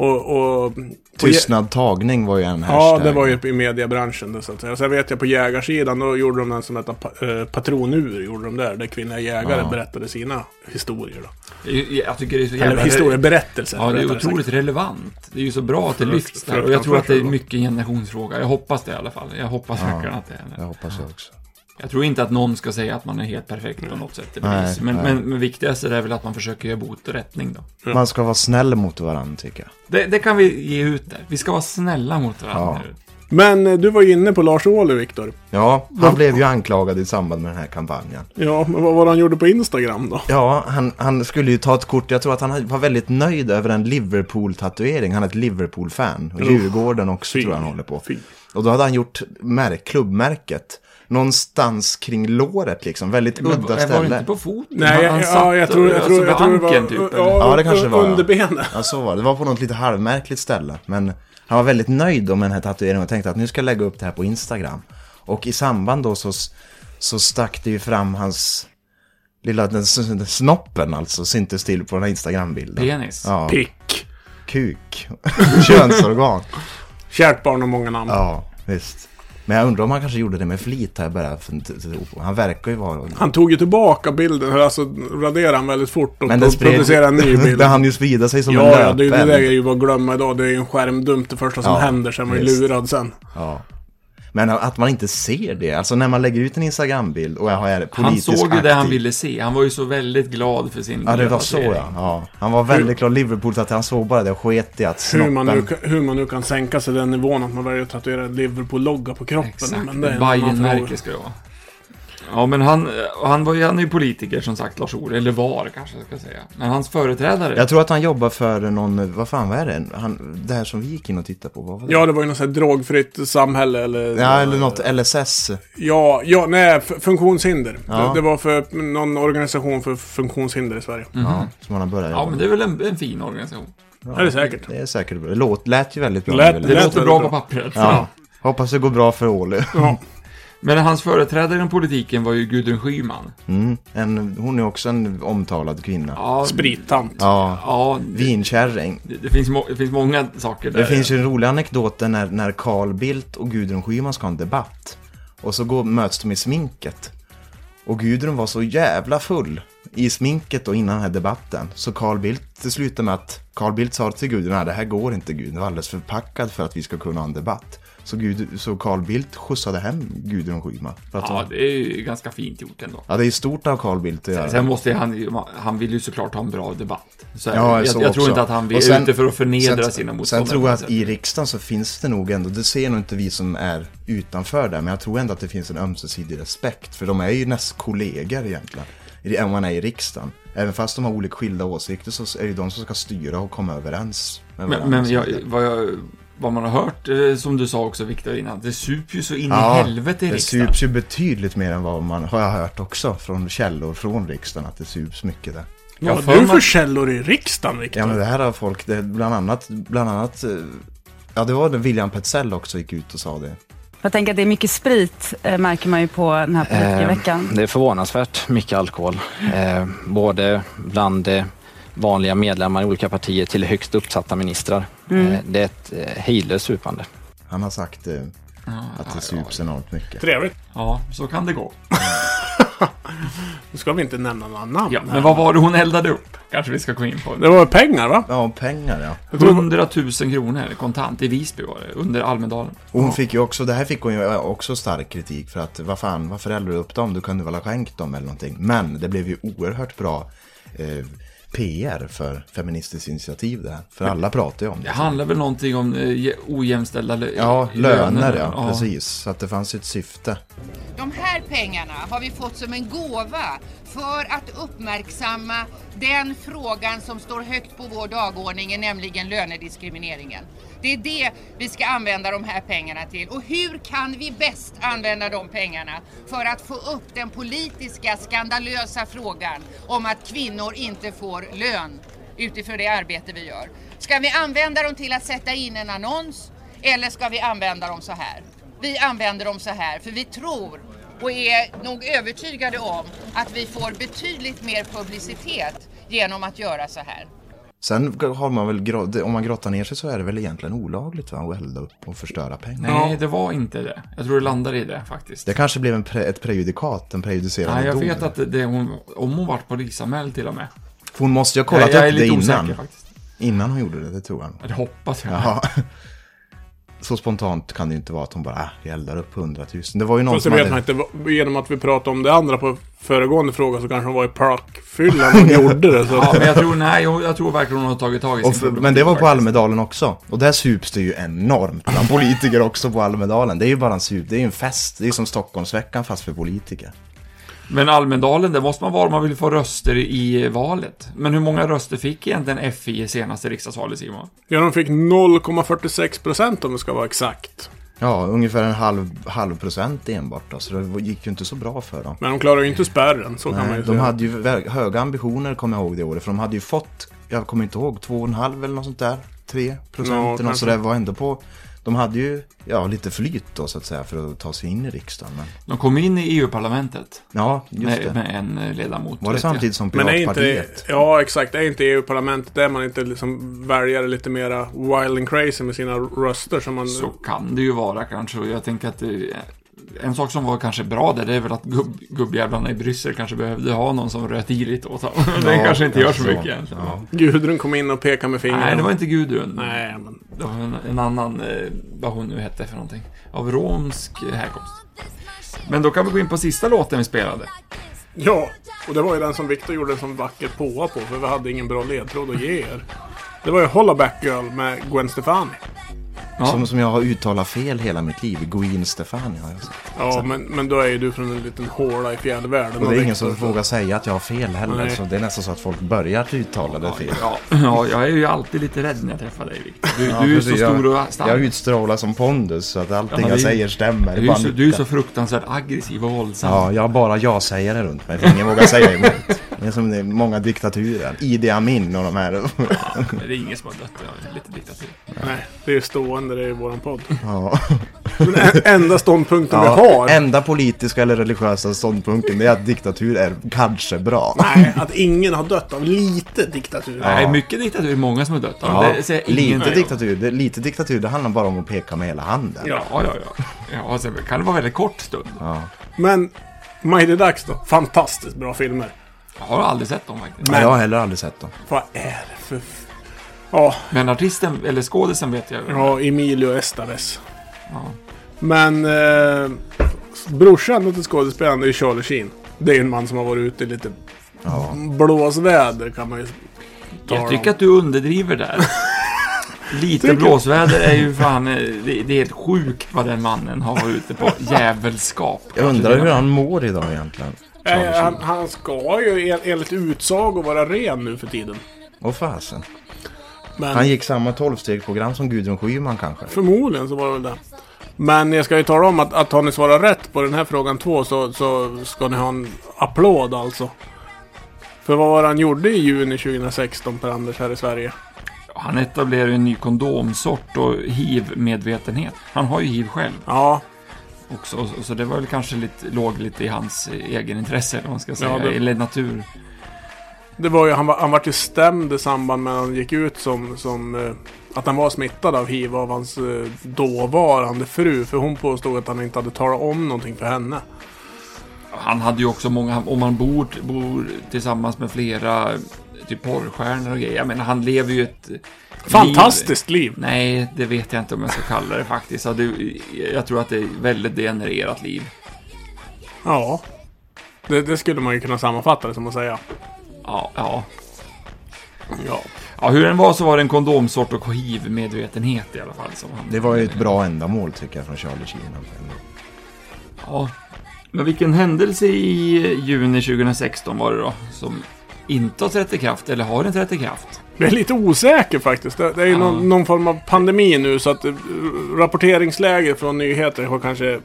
Och, och, och Tystnad tagning var ju en jä- hashtag. Ja, det var ju i mediebranschen det så att säga. Sen vet jag på jägarsidan, då gjorde de den som hette pa, eh, Patronur, gjorde de där. Där kvinnliga jägare Ja. berättade sina historier då. Jag tycker det är så Eller jävla... historieberättelser. Ja, det är rättare otroligt sagt. relevant. Det är ju så bra att det lyfts där. Och jag tror att det är mycket en generationsfråga. Jag hoppas det i alla fall. Jag hoppas verkligen att det är Jag det. hoppas jag också. Jag tror inte att någon ska säga att man är helt perfekt på något sätt. Det Nej, blir- men, nej. men, men viktigast är det väl att man försöker göra bot och rättning då. Man ska vara snäll mot varandra tycker jag. Det, det kan vi ge ut där. Vi ska vara snälla mot varandra. Ja. Men eh, du var ju inne på Lars Ohly, Viktor. Ja, han blev ju anklagad i samband med den här kampanjen. Ja, men vad var det han gjorde på Instagram då? Ja, han, han skulle ju ta ett kort. Jag tror att han var väldigt nöjd över en Liverpool-tatuering. Han är ett Liverpool-fan. Och Djurgården också tror jag han håller på. Fy. Och då hade han gjort märk, klubbmärket. Någonstans kring låret liksom. Väldigt Men udda Var det inte ställe. på foten? Nej, han satt ja, jag tror, jag alltså, tror, vid jag tror det var... ankeln typ. eller? ja, Ja, det kanske det var, ja. Under benet. Ja, så var det. Det var på något lite halvmärkligt ställe. Men han var väldigt nöjd då med den här tatueringen och tänkte att nu ska jag lägga upp det här på Instagram. Och i samband då så, så stack det ju fram hans lilla den, s- den snoppen alltså, syntes till på den här Instagram-bilden. Penis. Ja, Pick. kuk. Könsorgan. Kärt barn och många namn. Ja, visst. Men jag undrar om han kanske gjorde det med flit här bara. för att- Han verkar ju vara... Han tog ju tillbaka bilden, alltså raderade han väldigt fort och Men den pro- producerade en ny bild. Det hann ju sprida sig som en Ja, ja, det, det löpeld. där är ju bara att glömma idag. Det är ju en skärmdump det första som Ja, händer. Sen var ju visst. lurad sen. Ja. Men att man inte ser det. Alltså när man lägger ut en Instagram-bild och jag är Han politiskt såg ju det han aktiv. ville se. Han var ju så väldigt glad för sin Ja, det var så placering. ja. ja. Han var väldigt klar Liverpool att han såg bara det och sket i att Hur man, nu, snoppen... kan- hur man nu kan sänka sig den nivån att man väljer att tatuera en Liverpool-logga på kroppen. Exakt. Men det är en annan fråga. Bajenmärke ska det vara. Ja, men han, han, var, ju- han är ju politiker som sagt, Lars Ohly. Eller var kanske jag ska säga. Men hans företrädare. Jag tror att han jobbar för någon, vad fan vad är det? Han, det här som vi gick in och tittade på, vad var det? Ja, det var ju något sånt här drogfritt samhälle eller... Ja, eller något LSS. Mm. Ja, ja, nej, f- funktionshinder. Ja. Det, det var för någon organisation för funktionshinder i Sverige. Ja, som han har börjat jobba Ja, men det är väl en, en fin organisation. Är det säkert? Det är säkert bra. Det låt, lät ju väldigt bra. Lät- Det låter lät- väldigt bra på bra. pappret. Ja. Hoppas det går bra för Ohly. Ja. Men hans företrädare inom politiken var ju Gudrun Schyman. Mm. En, hon är också en omtalad kvinna. Ja. Ja, Sprittant. ja Vinkärring. Det, det, finns må, det finns många saker där. Det finns ju en rolig anekdot där när, när Carl Bildt och Gudrun Schyman ska ha en debatt. Och så går, möts de i sminket. Och Gudrun var så jävla full i sminket då innan den här debatten. Så Carl Bildt, det slutade med att Carl Bildt sa till Gudrun, nej det här går inte Gudrun, du är alldeles för packad för att vi ska kunna ha en debatt. Så, Gud, så Carl Bildt skjutsade hem Gudrun Schyman. För att Ja, hon, det är ju ganska fint gjort ändå. ja, det är ju stort av Carl Bildt att göra. Sen måste ju han, ju- han vill ju såklart ha en bra debatt. Så Ja, jag, så jag, tror också. inte att han Och vill- är sen- ute för att förnedra sen, sina Sen motståndare. tror jag på något att sätt. i riksdagen så finns det nog ändå, det ser nog inte vi som är utanför där, men jag tror ändå att det finns en ömsesidig respekt, för de är ju näst kollegor egentligen, i- om man är i riksdagen. Även fast de har olika skilda åsikter så är det ju de som ska styra och komma överens med varandra. Men, men och så jag, vidare. vad, jag, vad man har hört, eh, som du sa också Viktor innan, det sup ju så in Ja, i helvete i det riksdagen. sups ju betydligt mer än vad man har jag hört också från källor från riksdagen att det sups mycket där. Jag Vad för har du mig- för källor i riksdagen, Viktor? Ja men det här har folk, det, bland annat, bland annat, eh, ja det var det William Petzell också gick ut och sa det. Jag tänker att det är mycket sprit eh, märker man ju på den här politikerveckan. Det är förvånansvärt mycket alkohol. Eh, både bland eh, vanliga medlemmar i olika partier till högst uppsatta ministrar. Eh, det är ett eh, hejdlöst supande. Han har sagt eh, att det sups enormt mycket. Trevligt. Ja, så kan det gå. Nu ska vi inte nämna några namn. Ja, här. men vad var det hon eldade upp? Kanske vi ska gå in på. Det var pengar, va? Ja, pengar ja. 100 000 kronor kontant i Visby var det, under Almedalen. Och hon fick ju också, det här fick hon ju också stark kritik för att vad fan, varför eldar du upp dem? Du kunde väl ha skänkt dem eller någonting. Men det blev ju oerhört bra eh, PR för Feministiskt initiativ det här. För alla pratar ju om Det det. handlar väl någonting om eh, je- ojämställda lö- Ja, löner ja, precis. Så att det fanns ju ett syfte. De här pengarna har vi fått som en gåva för att uppmärksamma den frågan som står högt på vår dagordning, nämligen lönediskrimineringen. Det är det vi ska använda de här pengarna till. Och hur kan vi bäst använda de pengarna för att få upp den politiska skandalösa frågan om att kvinnor inte får lön utifrån det arbete vi gör? Ska vi använda dem till att sätta in en annons eller ska vi använda dem så här? Vi använder dem så här för vi tror och är nog övertygade om att vi får betydligt mer publicitet genom att göra så här. Sen har man väl, grå- om man grottar ner sig så är det väl egentligen olagligt va? Att elda upp och förstöra pengar. Nej, det var inte det. Jag tror det landade i det faktiskt. Det kanske blev en pre- ett prejudikat, en prejudicerande Nej, jag dom. vet att det, det, hon, om hon vart polisanmäld till och med. För Hon måste ju ha Jag, kollat jag är upp det lite innan. osäker faktiskt. Innan hon gjorde det, det tror jag. nog. Ja, Det hoppas jag. Ja. Så spontant kan det ju inte vara att hon bara, ah, jag eldar upp hundratusen. Det var ju någon Fast det som vet man hade... inte. Genom att vi pratade om det andra på föregående fråga så kanske hon var i parkfyllan och gjorde det. Så. Ja, men jag tror, nej, jag, jag tror verkligen hon har tagit tag i sin Och för, problematik men det var på faktiskt. Almedalen också. Och där sups det ju enormt bland politiker också på Almedalen. Det är ju bara en sup, det är ju en fest. Det är ju som Stockholmsveckan fast för politiker. Men Almedalen, där måste man vara om man vill få röster i valet. Men hur många röster fick egentligen FI i senaste riksdagsvalet, Simon? Ja, de fick 0,46 procent om det ska vara exakt. Ja, ungefär en halv, halv procent enbart då, så det gick ju inte så bra för dem. Men de klarar ju inte spärren, så kan man Nej, ju de säga. hade ju vä- höga ambitioner, kommer jag ihåg det året. För de hade ju fått, jag kommer inte ihåg, två och en halv eller något sånt där. Tre Ja, procent eller något kanske. sådär var ändå på. de hade ju ja, lite flyt då så att säga för att ta sig in i riksdagen. Men... De kom in i EU-parlamentet. Ja, just med, det. Med en eh, ledamot. Var det vet jag. samtidigt som Men är inte, Piratpartiet? ja exakt, är inte EU-parlamentet där man inte liksom väljare lite mera wild and crazy med sina röster som man... Så kan det ju vara kanske. Och jag tänker att det, en sak som var kanske bra där, det är väl att gubb, gubbjävlarna i Bryssel kanske behövde ha någon som röt i lite åt dem. det Ja, kanske inte gör så alltså, kanske mycket så. egentligen. Ja. Gudrun kom in och pekade med fingrarna. Nej, det var inte Gudrun. Nej, men... Det var en, en annan, eh, vad hon nu hette för någonting, av romsk härkomst. Men då kan vi gå in på sista låten vi spelade. Ja, och det var ju den som Victor gjorde en sån vacker påa på för vi hade ingen bra ledtråd att ge er. Det var ju Holla Back Girl med Gwen Stefani. Som, som jag har uttalat fel hela mitt liv. Gwen Stefani har jag sagt. Ja, men, men då är ju du från en liten håla i fjärde världen. Och det är ingen som Victor- vågar säga att jag har fel heller. Nej. Så det är nästan så att folk börjar uttala det fel. Ja, ja, jag är ju alltid lite rädd när jag träffar dig, Victor. Du, Ja, du är så precis. stor och jag, stark. jag utstrålar som pondus så att Ja, allting men jag det är ju- säger stämmer. Du är, Bara så, du är nicka. så fruktansvärt aggressiv och våldsam. Ja, jag har bara ja-sägare runt mig. för Ingen vågar säga emot. Det är som det är många diktaturer. Idi Amin och de här. Men Det är ingen som har dött, jag är lite diktatur. Nej, det är ju stående det i våran podd. Ja. Men en- enda ståndpunkten Ja, vi har. Enda politiska eller religiösa ståndpunkten det är att diktatur är kanske bra. Nej, att ingen har dött av lite diktatur. Nej, mycket diktatur är många som har dött. Ja, Ja, det säger jag lite, ingenting om. diktatur, det, lite diktatur, det handlar bara om att peka med hela handen. Ja, ja, ja. ja sen kan det vara väldigt kort stund. Ja. Men Mighty Ducks då? Fantastiskt bra filmer. Jag har aldrig sett dem faktiskt. Men- Jag har heller aldrig sett dem. Vad är det för... f- Ja, Men artisten, eller skådisen vet jag. ja Emilio Estevez. Ja. Men eh, brorsan till skådespelaren är ju Charlie Sheen. Det är ju en man som har varit ute i lite Ja. blåsväder kan man ju tala Jag tycker om. att du underdriver där. Lite Tycker- blåsväder är ju fan, eh, det, det är helt sjukt vad den mannen har varit ute på. Jävelskap. Jag undrar hur han mår idag egentligen. Charlie Eh, han, Sheen. han ska ju en- enligt utsago vara ren nu för tiden. Åh fasen. Men Han gick samma tolvstegsprogram som Gudrun Schyman kanske. förmodligen så var det väl det. Men jag ska ju tala om att, att har ni svarat rätt på den här frågan två så, så ska ni ha en applåd alltså. För vad var det han gjorde i juni 2016 per Anders här i Sverige? Han etablerar ju en ny kondomsort och hiv-medvetenhet. Han har ju hiv själv Ja, också, och- och så det var väl kanske lite, låg lite i hans eh, egenintresse, eller vad man ska säga. det- Eller natur. Det var ju, han, var, han vart ju stämd i samband med att han gick ut som, som eh, att han var smittad av hiv av hans eh, dåvarande fru. För hon påstod att han inte hade talat om någonting för henne. Han hade ju också många, om man bor, bor tillsammans med flera typ porrstjärnor och grejer. Jag menar, han lever ju ett Fantastiskt liv! Nej, det vet jag inte om jag ska kalla det faktiskt. Ja, det, jag tror att det är ett väldigt degenererat liv. Ja. Det, det skulle man ju kunna sammanfatta det som att säga. Ja, ja. Ja. ja hur den var så var det en kondomsort och hiv-medvetenhet i alla fall. Som han, Det var ju ett bra ändamål tycker jag från Charlie Sheen. Ja. Men vilken händelse i juni 2016 var det då? Som inte har trätt i kraft, eller har den trätt i kraft? Jag är lite osäker faktiskt. Det, det är ju Ja. någon, någon form av pandemi nu så att eh, rapporteringsläget från nyheter har kanske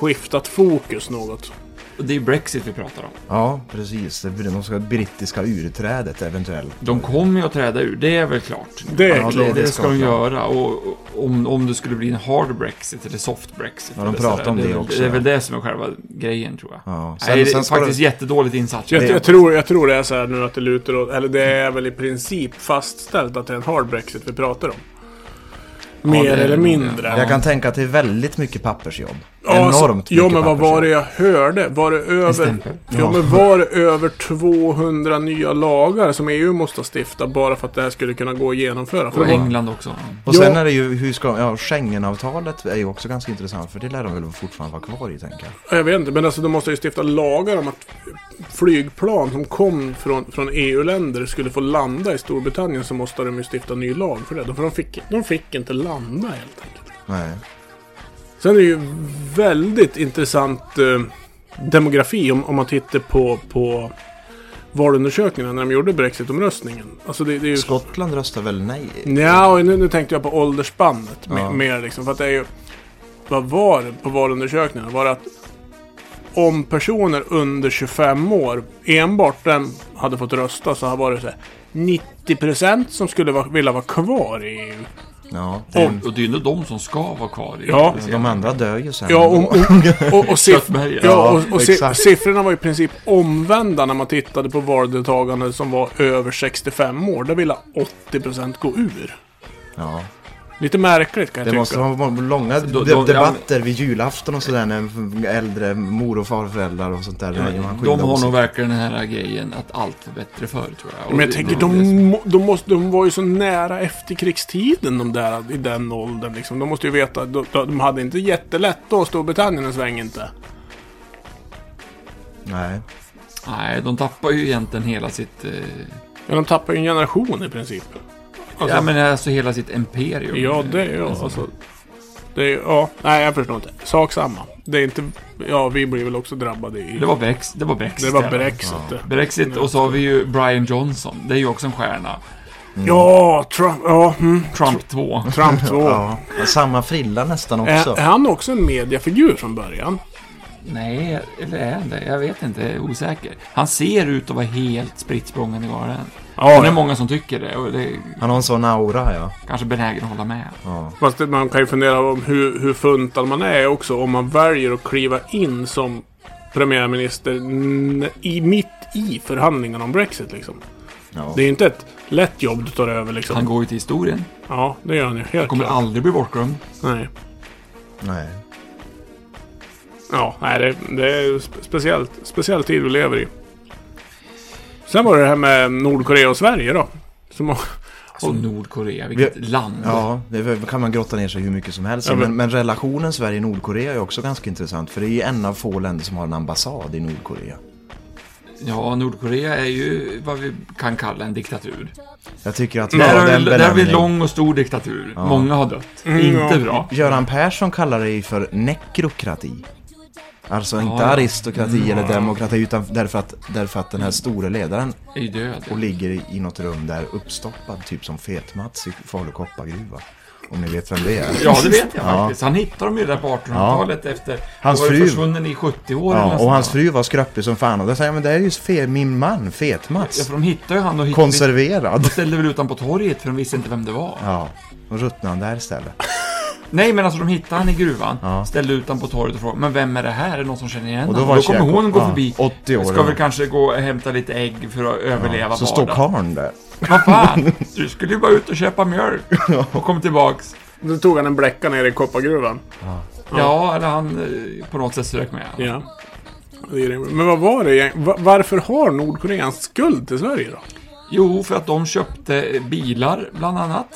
skiftat fokus något. Och det är Brexit vi pratar om. Ja, precis. Det blir de ska brittiska urträdet eventuellt. De kommer ju att träda ur, det är väl klart. Det är ja, klart. Det, det Det ska ska de klart. göra. Och, och om, om det skulle bli en hard Brexit eller soft Brexit. Ja, de eller pratar sådär, om det är väl- också. Det är väl det som är själva grejen tror jag. Ja. Nej, det är sen ska faktiskt det- jättedåligt insatt. Jag, jag, tror, jag tror det är så här nu att det lutar åt, eller det är väl i princip fastställt att det är en hard Brexit vi pratar om. Mer det är det eller nog, ja. mindre. Jag kan tänka att det är väldigt mycket pappersjobb. Ja, så- Enormt Ja, mycket men vad var pappersjobb. det jag hörde? Var det över... stämpel. Ja, men var det över 200 nya lagar som EU måste stifta bara för att det här skulle kunna gå att genomföra? För Och det var, England också. Och Ja. sen är det ju, hur ska, ja, Schengenavtalet är ju också ganska intressant för det lär de väl fortfarande vara kvar i tänker jag. jag vet inte, men alltså de måste ju stifta lagar om att flygplan som kom från, från EU-länder skulle få landa i Storbritannien så måste de ju stifta ny lag för det. För de fick, de fick inte landa helt enkelt. Nej. Sen är det ju väldigt intressant eh, demografi om, om man tittar på, på valundersökningarna när de gjorde Brexit-omröstningen. Alltså det, det är ju... Skottland röstar väl nej? Nja, och nu, nu tänkte jag på åldersspannet me- Ja. mer liksom. För att det är ju... Vad var det på valundersökningarna? Var det att om personer under 25 år enbart den hade fått rösta så var det så här 90% som skulle vara, vilja vara kvar i EU. Ja, Och, och det är ju ändå de som ska vara kvar i Ja. De andra dör ju sen. Ja, och, och, och, och, siff Köttberget. ja, och, och si exakt. siffrorna var i princip omvända när man tittade på valdeltagande som var över 65 år. Där ville 80% gå ur. Ja. Lite märkligt kan jag Det tycka. måste vara långa Då- de, då- debatter vid julafton och sådär när äldre mor och farföräldrar och sånt där. när man skiljer De har åsikter. nog verkligen den här grejen att allt var bättre förr, tror jag. Och Men jag det- tänker, det- de, må- de, måste, de var ju så nära efterkrigstiden de där i den åldern. Liksom. De måste ju veta, de, de hade inte jättelätt då, Storbritannien en sväng inte. Nej. Nej, de tappar ju egentligen hela sitt... Eh, Men de tappar ju en generation i princip. Alltså- ja, men alltså hela sitt imperium. Ja, det är ja, alltså. Det är, ja, nej jag förstår inte. Sak samma. Det är inte, ja vi blir väl också drabbade i... Det var Brex, det var Brexit. Det var ja. Brexit. Ja. Ja, Brexit och så har vi ju Brian Johnson. Det är ju också en stjärna. ja Trump, ja. Mm. Trump 2. Trump 2. Ja, samma frilla nästan också. Är, är han också en mediafigur från början? Nej, eller är han det? Jag vet inte. Jag är osäker. Han ser ut att vara helt spritt språngande galen. Ja, Men det är ja. många som tycker det och det är Han har en sån aura ja. kanske benägen att hålla med. ja. Fast det- man kan ju fundera om hur, hur funtad man är också om man väljer att kliva in som premiärminister n- i, mitt i förhandlingarna om Brexit liksom. Ja. Det är inte ett lätt jobb du tar över liksom. Han går ju till historien. Ja, det gör han ju. Helt Kommer klart. aldrig bli bortglömd. Nej. Nej. Ja, nej, det, det är spe- speciellt, speciell tid vi lever i. Sen var det det här med Nordkorea och Sverige då. Som, Alltså Nordkorea, vilket land. Ja, det är- kan man grotta ner sig hur mycket som helst Ja, men... men- Men, relationen Sverige-Nordkorea är också ganska intressant. För det är ju en av få länder som har en ambassad i Nordkorea. Ja, Nordkorea är ju vad vi kan kalla en diktatur. Jag tycker att Där har den vi- där har vi en benämningen- lång och stor diktatur. Ja. Många har dött. ja. Inte bra. Göran Persson kallar det ju för nekrokrati. Alltså inte Ja. Mm. aristokrati eller demokrati utan därför att, därför att den här store ledaren Är ju död. och ligger i i något rum där uppstoppad, typ som Fet-Mats i Falu-Koppargruva. Om ni vet vem det är. Ja, det vet jag Ja. faktiskt. Han hittade dem ju där på 1800-talet efter... Hans var ju fru- försvunnen i 70 år eller Ja, något och sånt hans där. fru var skröplig som fan och då säger jag men det är ju fe- min man, Ja, Fet-Mats. för de hittade ju han och hittade... Konserverad. De ställde väl ut honom på torget för de visste inte vem det var. Ja, och ruttnade han där istället. Nej, men alltså de hittade han i gruvan, Ja. ställde ut honom på torget och frågade Men vem är det här? Är det någon som känner igen Och då honom? var Då kommer Tjechov- hon gå ja, förbi. 80 år, Ska ja. väl kanske gå och hämta lite ägg för att överleva Så står vardagen. karln där. Vad fan! Du skulle ju bara ut och köpa mjölk. Och kom tillbaks. Då tog han en bläcka nere i koppargruvan. Ja, eller han eh, på något sätt strök med. Ja. Det är det. Men vad var det egentligen? Va- Varför har Nordkorea en skuld till Sverige då? Jo, för att de köpte bilar, bland annat.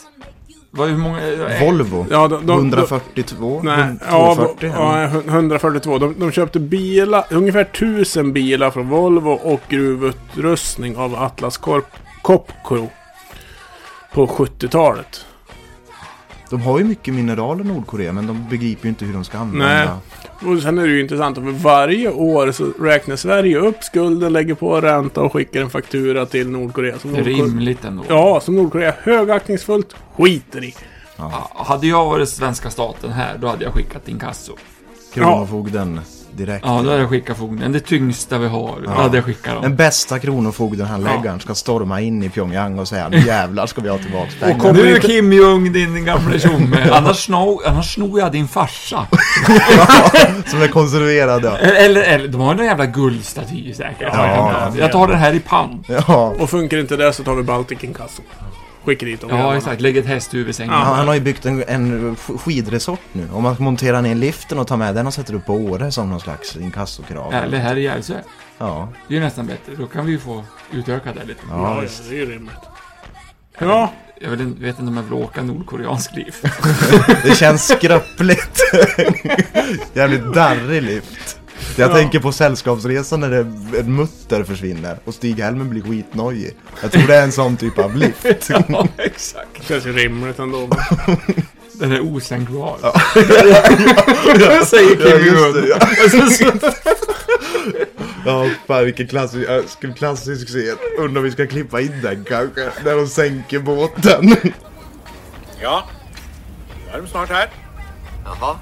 Vad, hur många... eh, Volvo. Ja, de- de- 142? Nej, ja, 240? ja, 142. De, de köpte bilar, ungefär 1000 bilar från Volvo och gruvutrustning av Atlas Corp, Copco på 70-talet. De har ju mycket mineraler Nordkorea men de begriper ju inte hur de ska använda. Nej. Mm. Och sen är det ju intressant, för varje år så räknar Sverige upp skulden, lägger på ränta och skickar en faktura till Nordkorea. Som Det är Nordkorea, rimligt ändå. ja, som Nordkorea högaktningsfullt skiter i. Ja, Hade jag varit svenska staten här, då hade jag skickat inkasso. Kronofogden direkt. Ja, då hade jag skickat fogden. Det tyngsta vi har. Då hade jag skickat Den dem. bästa kronofogdenhandläggaren ska storma in i Pyongyang och säga nu jävlar ska vi ha tillbaka pengarna. kom- Nu Kim Jong, din gamle tjomme. Annars, snor- annars snor jag din farsa. Som är konserverade. Eller, eller, eller de har ju någon jävla guldstaty säkert. Ja. jag tar den här i pant. Ja. Och funkar inte det så tar vi Baltic Inkasso. Skickar dit dem. Ja, exakt. Lägg ett hästhuvud i sängen. Han, han har ju byggt en, en sk- skidresort nu. Om man monterar ner liften och tar med den och sätter upp på Åre som någon slags inkassokrav. Eller här i Järvsö. Ja. Det är ju nästan bättre. Då kan vi ju få utöka det lite. Ja, ja, det är ju rimligt. Ja, Jag vet inte, vet inte om jag vill åka nordkoreansk liv. Det känns skröpligt. Jävligt darrig lift. Jag Ja. tänker på Sällskapsresan när det, en mutter försvinner och Stig-Helmer blir skitnojig. Jag tror det är en sån typ av lift. ja, exakt. det känns ju rimligt ändå. Den är osänkbar. Säger Kim Jong. det, ja. Ja, fan vilken klassisk, äh, sk- klassisk scen. Undrar om vi ska klippa in den kanske. När de sänker båten. Ja, då är de snart här. Jaha.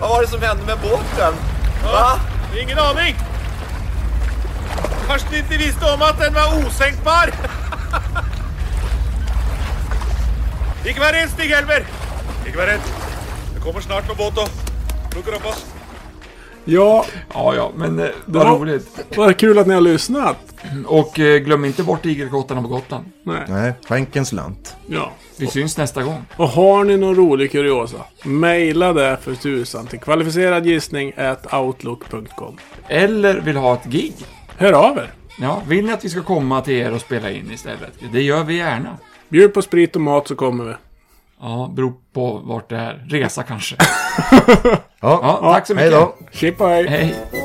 Vad var var det som hände med båten? Va? Ingen aning! Kanske ni inte visste om att den var osänkbar? Ikvær en, Stig-Helmer! Ikvær en. Det kommer snart med båt och plockar upp oss. Ja. Ja, ja, men eh, vad Ja. roligt. Vad kul att ni har lyssnat. Och eh, glöm inte bort igelkottarna på Gotland. Nej. Nej, skänk en slant. Ja. Vi syns nästa gång. Och har ni någon rolig kuriosa, mejla det för tusan till kvalificeradgissning.outlook.com. Eller vill ha ett gig. Hör av er. Ja, vill ni att vi ska komma till er och spela in istället? Det gör vi gärna. Bjud på sprit och mat så kommer vi. Ja, beror på vart det är. Resa kanske. Ja, tack så mycket. hej då. Chippa hej. hej.